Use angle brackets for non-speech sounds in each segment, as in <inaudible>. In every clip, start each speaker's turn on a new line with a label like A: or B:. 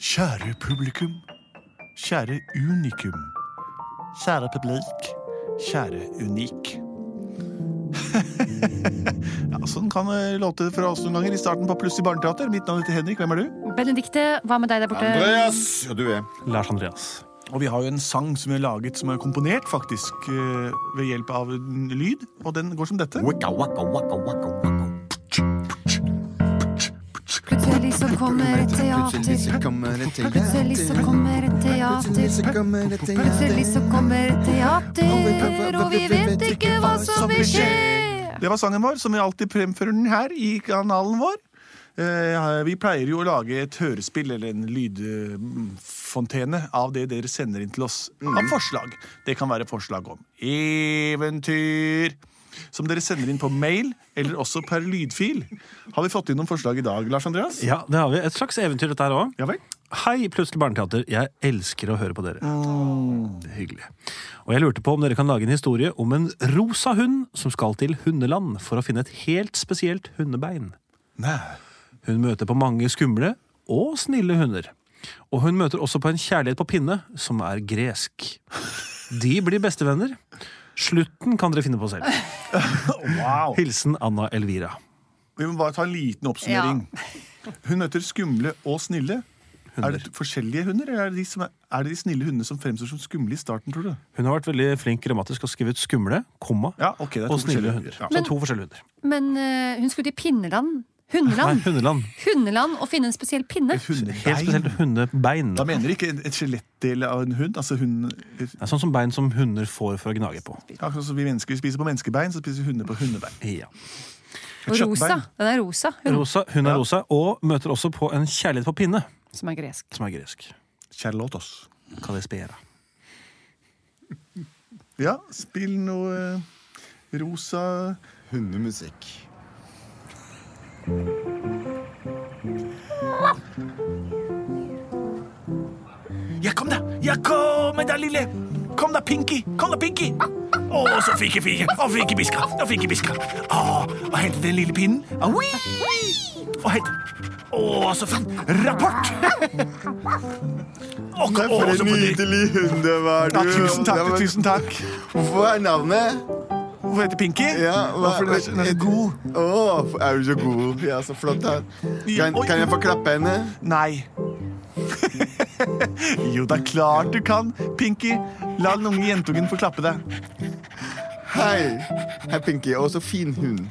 A: Kjære publikum. Kjære unikum. Kjære publik. Kjære unik. <laughs> ja, sånn kan det låte fra oss noen ganger i starten på Pluss i barneteater. Mitt navn heter Henrik. Hvem er du?
B: Benedikte, hva med deg der borte?
C: Andreas! Ja, du er.
D: Lars Andreas.
A: Og vi har jo en sang som vi har laget, som er komponert faktisk eh, ved hjelp av en lyd. Og den går som dette.
C: Waka, waka, waka, waka, waka.
B: Plutselig så kommer et
C: Plutselig så
B: teater.
C: kommer det til
B: Plutselig så kommer et
C: Plutselig så
B: teater.
C: kommer det til
B: Plutselig så kommer et teater, og vi vet ikke hva som vil skje.
A: Det var sangen vår, som vi alltid fremfører den her i kanalen vår. Eh, Vi pleier jo å lage et hørespill eller en lydfontene av det dere sender inn til oss av forslag. Det kan være forslag om eventyr, som dere sender inn på mail eller også per lydfil. Har vi fått inn noen forslag i dag, Lars Andreas?
D: Ja, det har vi. Et slags eventyr, dette her òg.
A: Ja vel?
D: Hei, Plutselig barneteater. Jeg elsker å høre på dere.
A: Ah.
D: Det er hyggelig. Og jeg lurte på om dere kan lage en historie om en rosa hund som skal til hundeland for å finne et helt spesielt hundebein.
A: Nei.
D: Hun møter på mange skumle og snille hunder. Og hun møter også på en kjærlighet på pinne, som er gresk. De blir bestevenner. Slutten kan dere finne på selv.
A: <laughs> Wow.
D: Hilsen Anna Elvira.
A: Vi må bare ta en liten oppsummering. Hun møter skumle og snille. Er det forskjellige hunder, eller er det, de som er, er det de snille hundene som fremstår som skumle i starten, tror du?
D: Hun har vært veldig flink grammatisk og skrevet skumle, komma
A: Ja, ok, det er to
D: og snille
A: forskjellige
D: hunder.
A: Ja.
D: Så to forskjellige hunder.
B: Men eh, hun skulle til Pinneland.
D: Nei,
B: Hundeland.
D: hundeland.
B: Hundeland og finne en spesiell pinne.
A: Et hundebein?
D: Helt spesielt hundebein.
A: Da mener de ikke et skjelettdel av en hund. Altså hun,
D: Det er sånn som bein som hunder får for å gnage på.
A: akkurat som altså, vi mennesker spiser på menneskebein, så spiser hunder på hundebein.
D: Ja.
B: Og rosa.
A: kjøttbein.
B: Den er rosa, hun
D: Rosa, hun er rosa, og møter også på en kjærlighet på pinne,
B: som er gresk.
D: som er gresk.
A: Charlotos.
D: Kalispera.
A: Ja, spill noe eh, rosa
C: Hundemusikk.
A: Ja, kom da! Ja, kom da, lille! Kom da, Pinky! Kom da, Pinky! Å, så fikk jeg fiken! Og fikk jeg biska! Og fikk jeg biska! Å, og hentet den lille pinnen. Aui! Og hent... Å, så fin rapport! Å, kom, å,
C: For
A: så
C: en
A: nydelig!
C: nydelig hund det var,
A: Ja,
C: du.
A: tusen takk,
C: Ja, men
A: tusen takk.
C: Hvorfor er navnet?
A: Hvorfor heter Pinky?
C: Ja, hva-
A: Hvorfor er den så- den er så god?
C: Å, er du så god? Ja, så flott, da. Kan,
A: Oi.
C: kan jeg få klappe henne?
A: Nei. <laughs> jo, det er klart du kan. Pinky, la den unge jentungen få klappe deg.
C: Hei. Hei, Pinky. Å, så fin hund.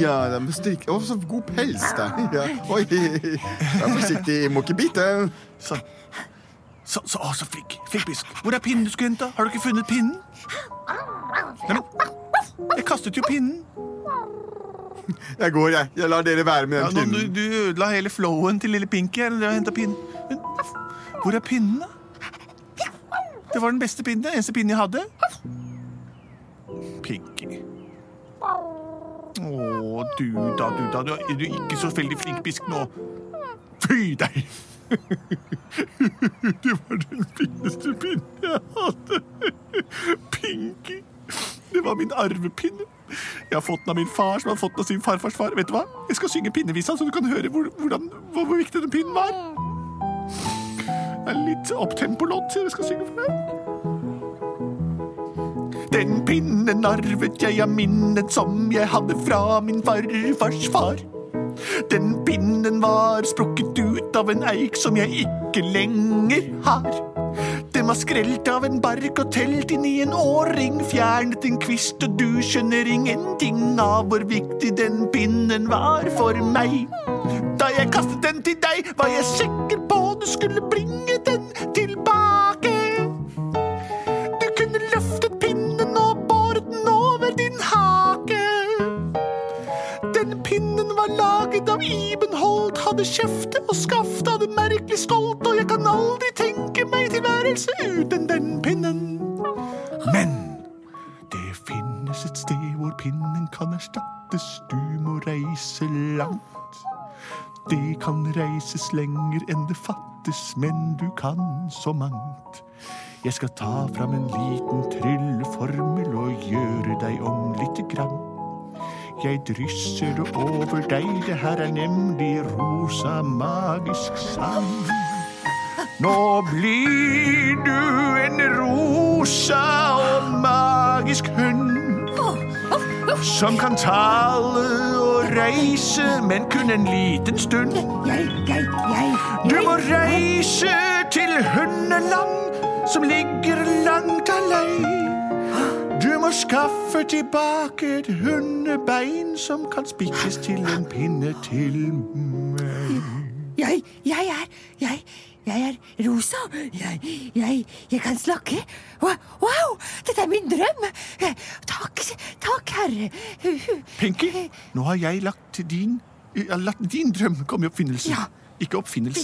C: Ja, den med stryk. Å, så god pels, da. Ja. Oi. Vær forsiktig, må ikke bite.
A: Sånn. Så, så, å, så fikk, fikk bisk. Hvor er pinnen du skulle hente? Har du ikke funnet pinnen? Nei, men, jeg kastet jo pinnen.
C: Jeg går, jeg. Jeg lar dere være med
A: Ja,
C: den
A: nå, du,
C: pinnen.
A: du ødela hele flowen til lille Pinky. her, Du har hentet pinnen. Men, hvor er pinnen, da? Det var den beste pinnen. Den eneste pinnen jeg hadde. Pinky. Å, du da, du da. Du er du er ikke så veldig flink bisk nå. Fy deg! <laughs> Det var den fineste pinnen jeg hadde. Pinky. Det var min arvepinne. Jeg har fått den av min far, som har fått den av sin farfars far. Vet du hva? Jeg skal synge pinnevisa, så du kan høre hvor, hvordan, hvor, hvor viktig den pinnen var. Det er litt opptempo-låt jeg skal synge for deg. Den pinnen arvet jeg av minnet som jeg hadde fra min farfars far. Den pinnen var sprukket ut av en eik som jeg ikke lenger har. Den var skrelt av en bark og telt inn i en årring, fjernet en kvist, og du skjønner ingenting av hvor viktig den pinnen var for meg. Da jeg kastet den til deg, var jeg sikker på du skulle bringe den tilbake. Du kunne løftet pinnen og båret den over din hake. Den pinnen var laget av Ibenholt, hadde kjefte og skaft, hadde merkelig stolt, og jeg kan aldri tenke meg tilværelse uten den pinnen. Men det finnes et sted hvor pinnen kan erstattes, du må reise langt. Det kan reises lenger enn det fattes, men du kan så mangt. Jeg skal ta fram en liten trylleformel og gjøre deg om lite grann. Jeg drysser det over deg, det her er nemlig rosa magisk sand.
E: Nå blir du en rosa og magisk hund. Som kan tale og reise, men kun en liten stund.
F: Jeg, jeg, jeg,
E: Du
F: jeg.
E: må reise til hundeland, som ligger langt alene. Du må skaffe tilbake et hundebein som kan spikkes til en pinne til meg.
F: Jeg, jeg er jeg, jeg er rosa. Jeg, jeg, jeg kan snakke. Wa- Wow, dette er min drøm! Eh, Takk, takk, herre. Hu- hu.
E: Pinky, nå har jeg lagt til din jeg har latt din drøm komme i oppfinnelse.
F: Ja.
E: Ikke oppfinnelse.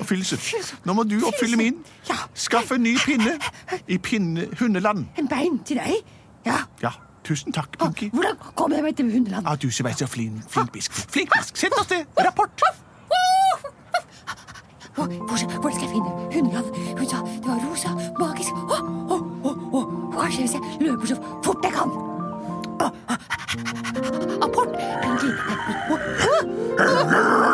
F: Oppfyllelse.
E: Oppfyllelse. Nå må du oppfylle min.
F: Ja.
E: Skaff en ny pinne i pinne hundeland.
F: En bein til deg? Ja.
E: Ja, tusen takk,
F: Ah,
E: Pinky.
F: Hvordan kommer jeg meg til hundeland?
E: Ja, du som er så flin, flinkbisk. Flinkbisk, send oss det! Rapport!
F: Å, Hvor, hvor skal jeg finne hundeland? Hun sa det var rosa, magisk Å, å, å, å. Kanskje hvis jeg løper så fort jeg kan. Å, å. Apport! Pinky. Å, å.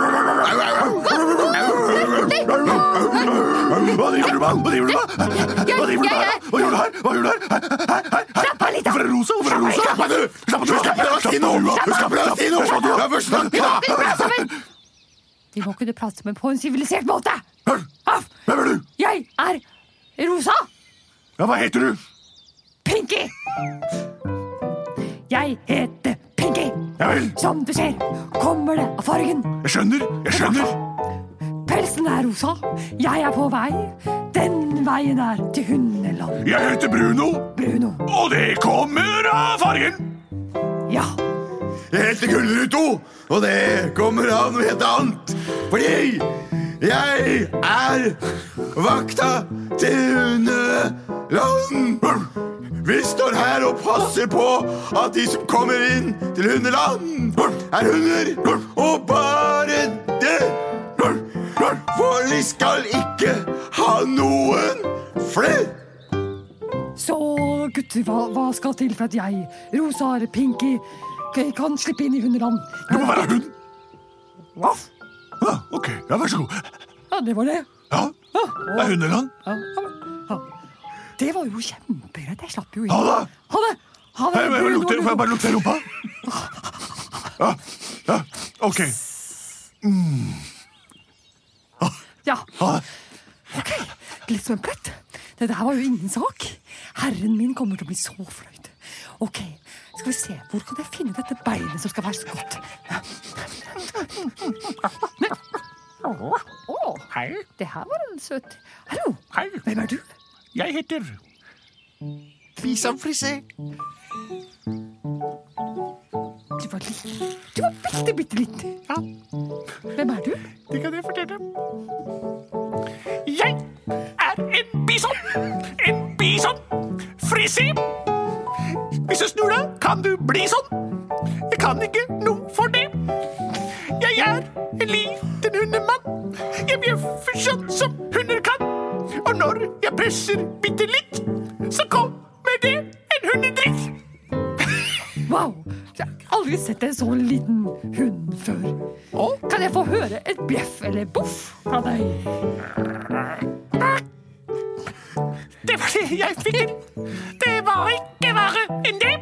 E: Hva driver du med? Hva driver du med? Hva driver du med? Hva gjør du her? Hva gjør du her? Hei, hei, hei!
F: Slapp av litt, da.
E: Hvorfor er det rosa? Hvorfor er det rosa?
F: Slapp av,
E: du! Slapp av, du! Slapp av, si noe! Slapp av, si noe! Slapp av, si
F: Vi må
E: noe!
F: sammen! Vi må kunne prate sammen på en sivilisert måte.
E: Hør!
F: Av,
E: Hvem er du?
F: jeg er Rosa
E: Ja, hva heter du?
F: Pinky. Jeg heter Pinky.
E: Ja vel,
F: Som du ser, kommer det av fargen.
E: jeg skjønner, jeg skjønner.
F: Pelsen er rosa. Jeg er på vei. Den veien er til hundeland.
E: Jeg heter Bruno,
F: Bruno.
E: og det kommer av fargen!
F: Ja.
C: Jeg heter Gullruto, og det kommer av noe helt annet. Fordi jeg er vakta til hundeland. Vi står her og passer på at de som kommer inn til hundeland, er hunder og bare det. For de skal ikke ha noen flere.
F: Så gutter, hva, hva skal til for at jeg, Rosa eller Pinky, k- kan slippe inn i hundeland?
E: Du må være hund.
F: Voff.
E: Ja, ok, ja, vær så god.
F: Ja, det var det.
E: Ja,
F: Ja.
E: det er hundeland.
F: Ja, ja, ja. Det var jo kjempegreit. Jeg slapp jo inn.
E: Ha det!
F: Ha det! Ha det!
E: Hei, hva- hva
F: Bruno,
E: lukter- Får jeg
F: Bruno.
E: bare lukte rumpa? Ja, ja, ok.
F: Ja,
E: Ha det.
F: ok. Litt som en plett. Dette her var jo ingen sak. Herren min kommer til å bli så fornøyd. Ok, skal vi se. Hvor kan jeg finne dette beinet som skal være så godt? Å,
E: Hei,
F: det her var en søt Hallo,
E: hei.
F: hvem er du?
E: Jeg heter
C: Fisa frisé.
F: Du var liten. Du var bitte, bitte liten.
E: Ja.
F: Hvem er du?
E: Det kan jeg fortelle. Jeg er en bison. En bison. Frisé. Hvis du snur deg, kan du bli sånn. Jeg kan ikke noe for det. Jeg er en liten hundemann. Jeg bjeffer sånn som hunder kan. Og når jeg presser bitte litt, så kommer det en hundedrikk.
F: Wow! Jeg har aldri sett en så liten hund før. Kan jeg få høre et bjeff eller boff fra deg?
E: Det var det jeg fikk. Det var ikke verre enn det.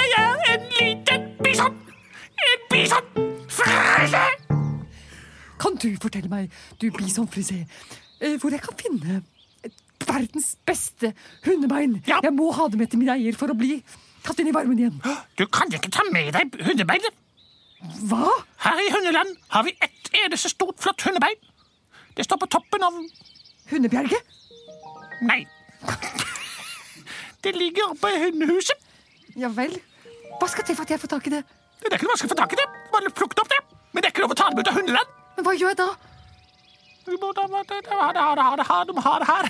E: Jeg er en liten bison. En bison. Frese!
F: Kan du fortelle meg, du bisonfrisé, eh, hvor jeg kan finne et verdens beste hundebein?
E: Ja.
F: Jeg må ha det med til min eier for å bli tatt inn i varmen igjen.
E: Du kan ikke ta med deg hundebeinet.
F: Hva?
E: Her i hundeland har vi ett eneste stort, flott hundebein. Det står på toppen av
F: Hundebjerget?
E: Nei. Det ligger oppe i hundehuset.
F: Ja vel. Hva skal til for at jeg får tak i det?
E: Det er ikke noe vanskelig å få tak i det. Bare plukk det opp, det. Men det er ikke lov å ta det med ut av hundeland.
F: Men hva gjør jeg da?
E: Du må da- ha det, ha det, ha det, ha det, ha det, du må ha det her.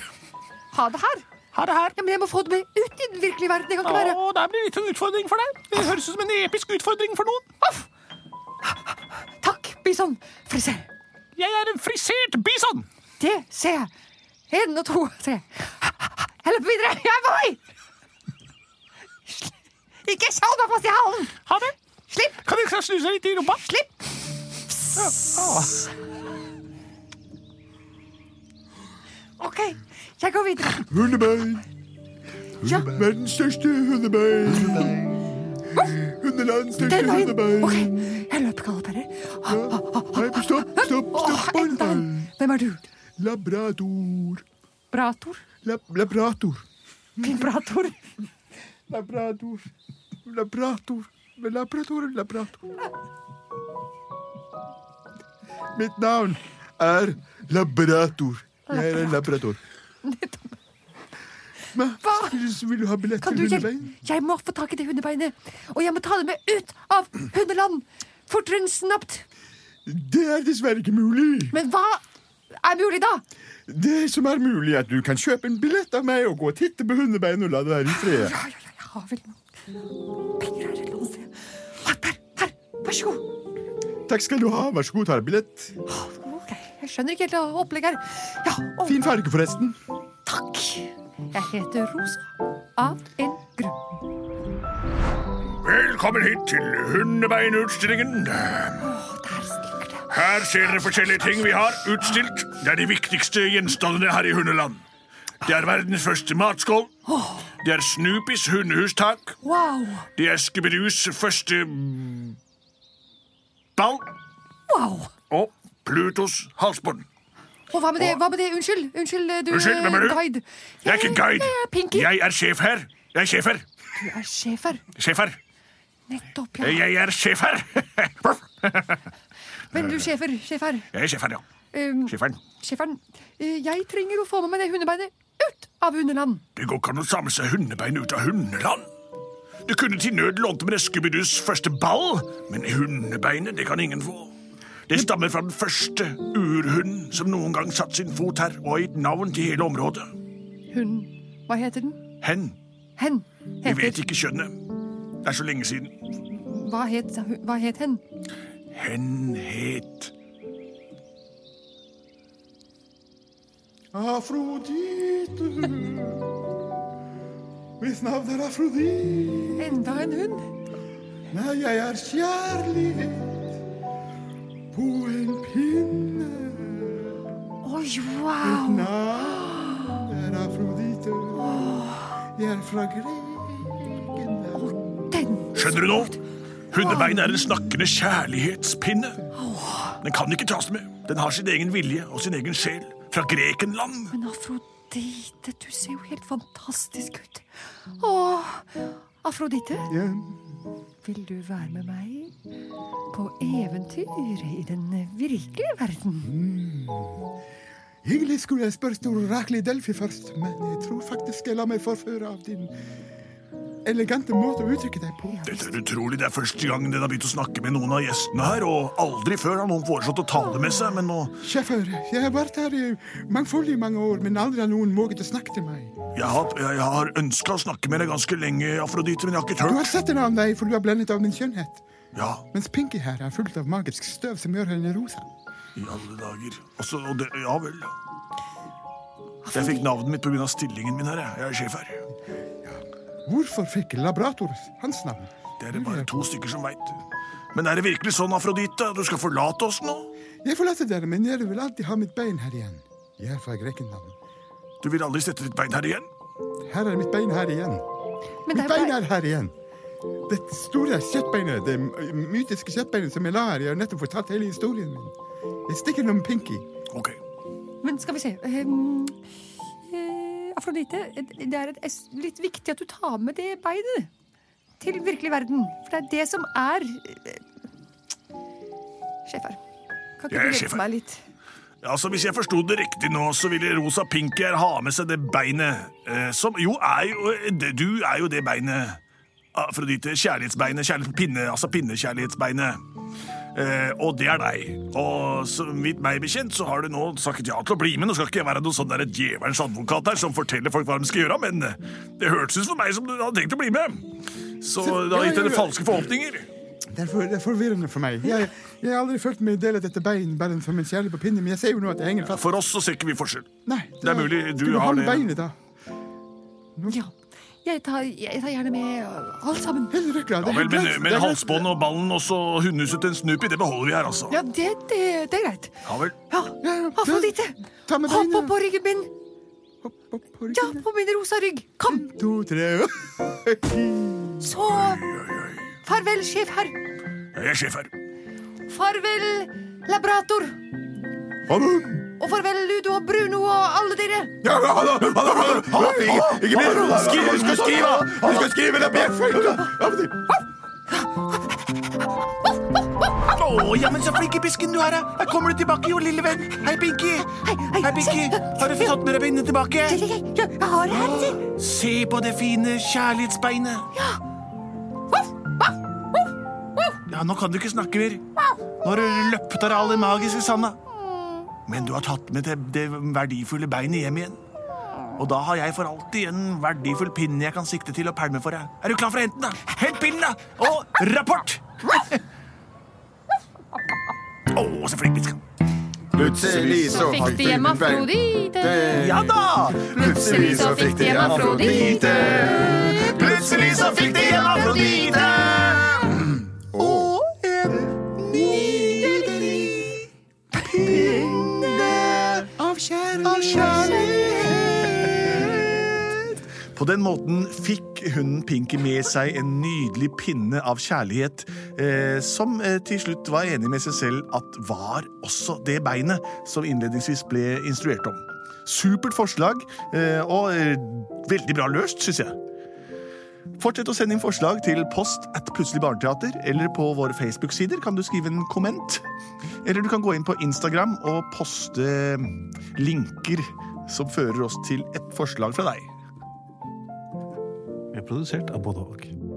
F: Ha det her?
E: Ha det her.
F: Ja, men jeg må få det med ut i den virkelige verden. Jeg kan ikke være
E: Å, det blir litt av en utfordring for deg. Det høres ut som en episk utfordring for noen.
F: Aff! Takk, bisonfrisé.
E: Jeg er en frisert bison.
F: Det ser jeg. Én og to og tre. Jeg løper videre. Jeg er på vei! Sli- Ikke kjall meg fast i halen!
E: Ha det.
F: Slipp!
E: Kan dere snu seg litt i rumpa?
B: Ah.
F: Slipp!
B: OK, jeg går videre.
C: Hundebein.
B: Ja.
C: Verdens største hundebein. Hundelands største
B: Den veien.
C: hundebein.
B: OK, jeg løpergalopperer.
C: Nei, stopp, stopp,
B: Åh,
C: stopp.
B: enda en. Hvem er du?
C: Labrador.
B: Brator?
C: Lab labrator.
B: Vibrator?
C: Labrador. Labrator. Labrador. Labrator. Mitt navn er Labrator. Jeg er en labrador. Men,
B: Hva?
C: Vil du ha billett
B: Kan
C: til
B: du hjelpe?
C: hundebein?
B: Jeg må få tak i det hundebeinet. Og jeg må ta det med ut av hundeland! Fortere enn snapt.
C: Det er dessverre ikke mulig.
B: Men hva er mulig, da?
C: Det som er mulig, er at du kan kjøpe en billett av meg og gå og titte på hundebein og la det være i fred.
B: Ja, ja, ja, jeg har vel noen penger her eller noe sted. Ah, Der, her, vær så god.
C: Takk skal du ha. Vær så god, ta en billett.
B: Ah, Ok, jeg skjønner ikke helt opplegget her. Ja, og
C: Fin farge, forresten.
B: takk. Jeg heter Rosa av en grunn.
G: Velkommen hit til Hundebeinutstillingen.
B: Og der stikker det.
G: Her ser dere forskjellige ting vi har utstilt. Det er de viktigste gjenstandene her i hundeland. Det er verdens første matskål. Det er Snoopys hundehustak.
B: Wow,
G: Det er Skibberus første ball.
B: wow.
G: Og Plutos halsbånd.
B: Og hva med det? Hva med det? Unnskyld, unnskyld, du
G: Unnskyld, hvem er
B: eh,
G: du?
B: guide.
G: Jeg er ikke guide.
B: Jeg er Pinky.
G: Jeg er sjef her. Jeg er sjef her.
B: Du er sjef her.
G: Sjef her.
B: Nettopp, ja.
G: Jeg er sjef her. <laughs>
B: Men du, sjefer, sjef her.
G: Jeg er sjef her, ja.
B: Um,
G: Sjeferen.
B: sjeferen, eh, jeg trenger å få med meg det hundebeinet ut av hundeland.
G: Det går ikke an å samle seg hundebein ut av hundeland. Du kunne til nød lånt med Eskebidus første ball, men hundebeinet det kan ingen få. Det stammer fra den første urhunden som noen gang satte sin fot her og har gitt navn til hele området.
B: Hun, hva heter den?
G: Hen.
B: Hen.
G: Vi vet
B: Heter,
G: ikke kjønnet. Det er så lenge siden.
B: hva, het, hva het hen?
G: Hen het
C: Afrodite. Mitt navn er Afrodite.
B: Enda en hund.
C: Nei, jeg er kjærlighet på en pinne.
B: Oi, wow.
C: Navn er Afrodite. Jeg er fra Grekenland.
B: Den
G: Skjønner du nå? Hundebein er en snakkende kjærlighetspinne. Den kan ikke tas med. Den har sin egen vilje og sin egen sjel. Fra Grekenland.
B: Men Afrodite, du ser jo helt fantastisk ut. Åh, Afrodite,
C: Ja.
B: vil du være med meg på eventyr i den virkelige verden?
C: Egentlig skulle jeg spørre til oraklet i Delphi først, men jeg tror faktisk jeg lar meg forføre av din elegante måte å uttrykke deg på.
G: Dette er utrolig. Det er første gang den har begynt å snakke med noen av gjestene her, og aldri før har noen foreslått å ta det med seg, men nå
C: Sjeffer, jeg har vært her i mangfoldig mange år, men aldri har noen våget å snakke til meg.
G: Jeg har, jeg har ønska å snakke med deg ganske lenge, Afrodite, men jeg har ikke
C: Du har
G: tørt.
C: sett en annen deg, for du er blendet av min skjønnhet.
G: Ja,
C: Mens Pinky her er fullt av magisk støv som gjør henne rosa.
G: i alle dager. Også, og det, ja vel. Jeg fikk navnet mitt pga. stillingen min her. jeg. Jeg er sjef her.
C: Hvorfor fikk Labrator hans navn?
G: Det er det bare to stykker som veit. Men er det virkelig sånn, Afrodite? Du skal forlate oss nå?
C: Jeg forlater dere, men dere vil alltid ha mitt bein her igjen. Jeg er fra Grekenland.
G: Du vil aldri sette ditt bein her igjen?
C: Her er mitt bein her igjen. Mitt
B: Men det er
C: bein
B: bare...
C: er her igjen. Det store kjøttbeinet, det mytiske kjøttbeinet som jeg la her. Jeg har nettopp fortalt hele historien min. Jeg stikker noe med Pinky.
G: Ok.
B: Men skal vi se. ehm, eh, Afrodite, det er et, es- litt viktig at du tar med det beinet til virkelig verden. For det er det som er eh, Sjefer, kan
G: Jeg er
B: ikke du
G: sjef her.
B: hjelpe meg litt?
G: Altså, Hvis jeg forsto det riktig nå, så ville Rosa Pinky her ha med seg det beinet eh, som Jo, er jo eh, det, du er jo det beinet. ah, Afrodite. Kjærlighetsbeinet. Kjærlighet, pinne, altså pinnekjærlighetsbeinet. Eh, og det er deg. Og så vidt meg bekjent, så har du nå sagt ja til å bli med. Nå skal ikke jeg være noen sånn der djevelens advokat her som forteller folk hva de skal gjøre, men eh, det hørtes ut for meg som du hadde tenkt å bli med. Så det har gitt deg falske forhåpninger.
C: Det er, for, det er forvirrende for meg. Jeg, jeg har aldri følt meg del av dette beinet bare som en kjærlig på pinnen, men jeg ser jo nå at jeg henger fast.
G: For oss så ser ikke vi forskjell.
C: Nei,
G: Det er mulig du
C: skulle
G: har
C: holde
G: det.
C: beinet, da.
B: Ja. Jeg tar, jeg tar gjerne med eh, alt sammen.
C: Hele ryggrad.
G: Ja, vel, men, men halsbåndet og ballen og så hundehuset til en Snoopy, det beholder vi her, altså.
B: Ja, det, det, det er greit.
G: Ja vel.
B: Ja,
C: Ja, ja,
B: Afrodite,
C: ta med
B: hopp
C: beinet.
B: opp på ryggen min.
C: Hopp, hopp, på
B: Ja,
C: ryggen.
B: på min rosa rygg. Kom!
C: To, tre
B: Så Farvel, sjef herr.
A: Jeg er sjef her.
B: Farvel, laborator.
C: Ha det!
B: Og farvel, Ludo og Bruno og alle dere.
C: Ja, men ha det! Ha det! Ha det! Ha det! Ikke- Ikke mer! Skriv! Du skal skrive! Du skal skrive! Det blir feil!
H: Å, jammen så flink i pisken du er, da. Her kommer du tilbake, jo, lille venn. Hei, Pinky.
G: Hei, hei,
H: Pinky.
G: se,
H: Har du fått med deg beinet tilbake?
G: Jeg, jeg, jeg, jeg har det her, se.
H: Se på det fine kjærlighetsbeinet.
G: Voff, voff, voff, voff.
H: Ja, nå kan du ikke snakke mer. Nå har du løpt av deg all den magiske sanda.
G: Mm.
H: Men du har tatt med det, det verdifulle beinet hjem igjen. Og da har jeg for alltid en verdifull pinne jeg kan sikte til å pælme for deg. Er du klar for å hente den, da? Hent pinnen, da! Og rapport!
A: Å, så flink pisk.
C: Plutselig
G: Så fikk de hjem Afrodite.
H: Ja da!
C: Plutselig så fikk de hjem Afrodite. Plutselig så fikk de hjem Afrodite. Og en nydelig pinne av kjærlighet.
A: På den måten fikk hunden Pinky med seg en nydelig pinne av kjærlighet, eh, som eh, til slutt var enig med seg selv at var også det beinet som innledningsvis ble instruert om. Supert forslag, eh, og eh, veldig bra løst, syns jeg. Fortsett å sende inn forslag til post at Plutselig barneteater, eller på våre Facebook-sider kan du skrive en komment. Eller du kan gå inn på Instagram og poste linker som fører oss til et forslag fra deg.
I: Vi er produsert av både og.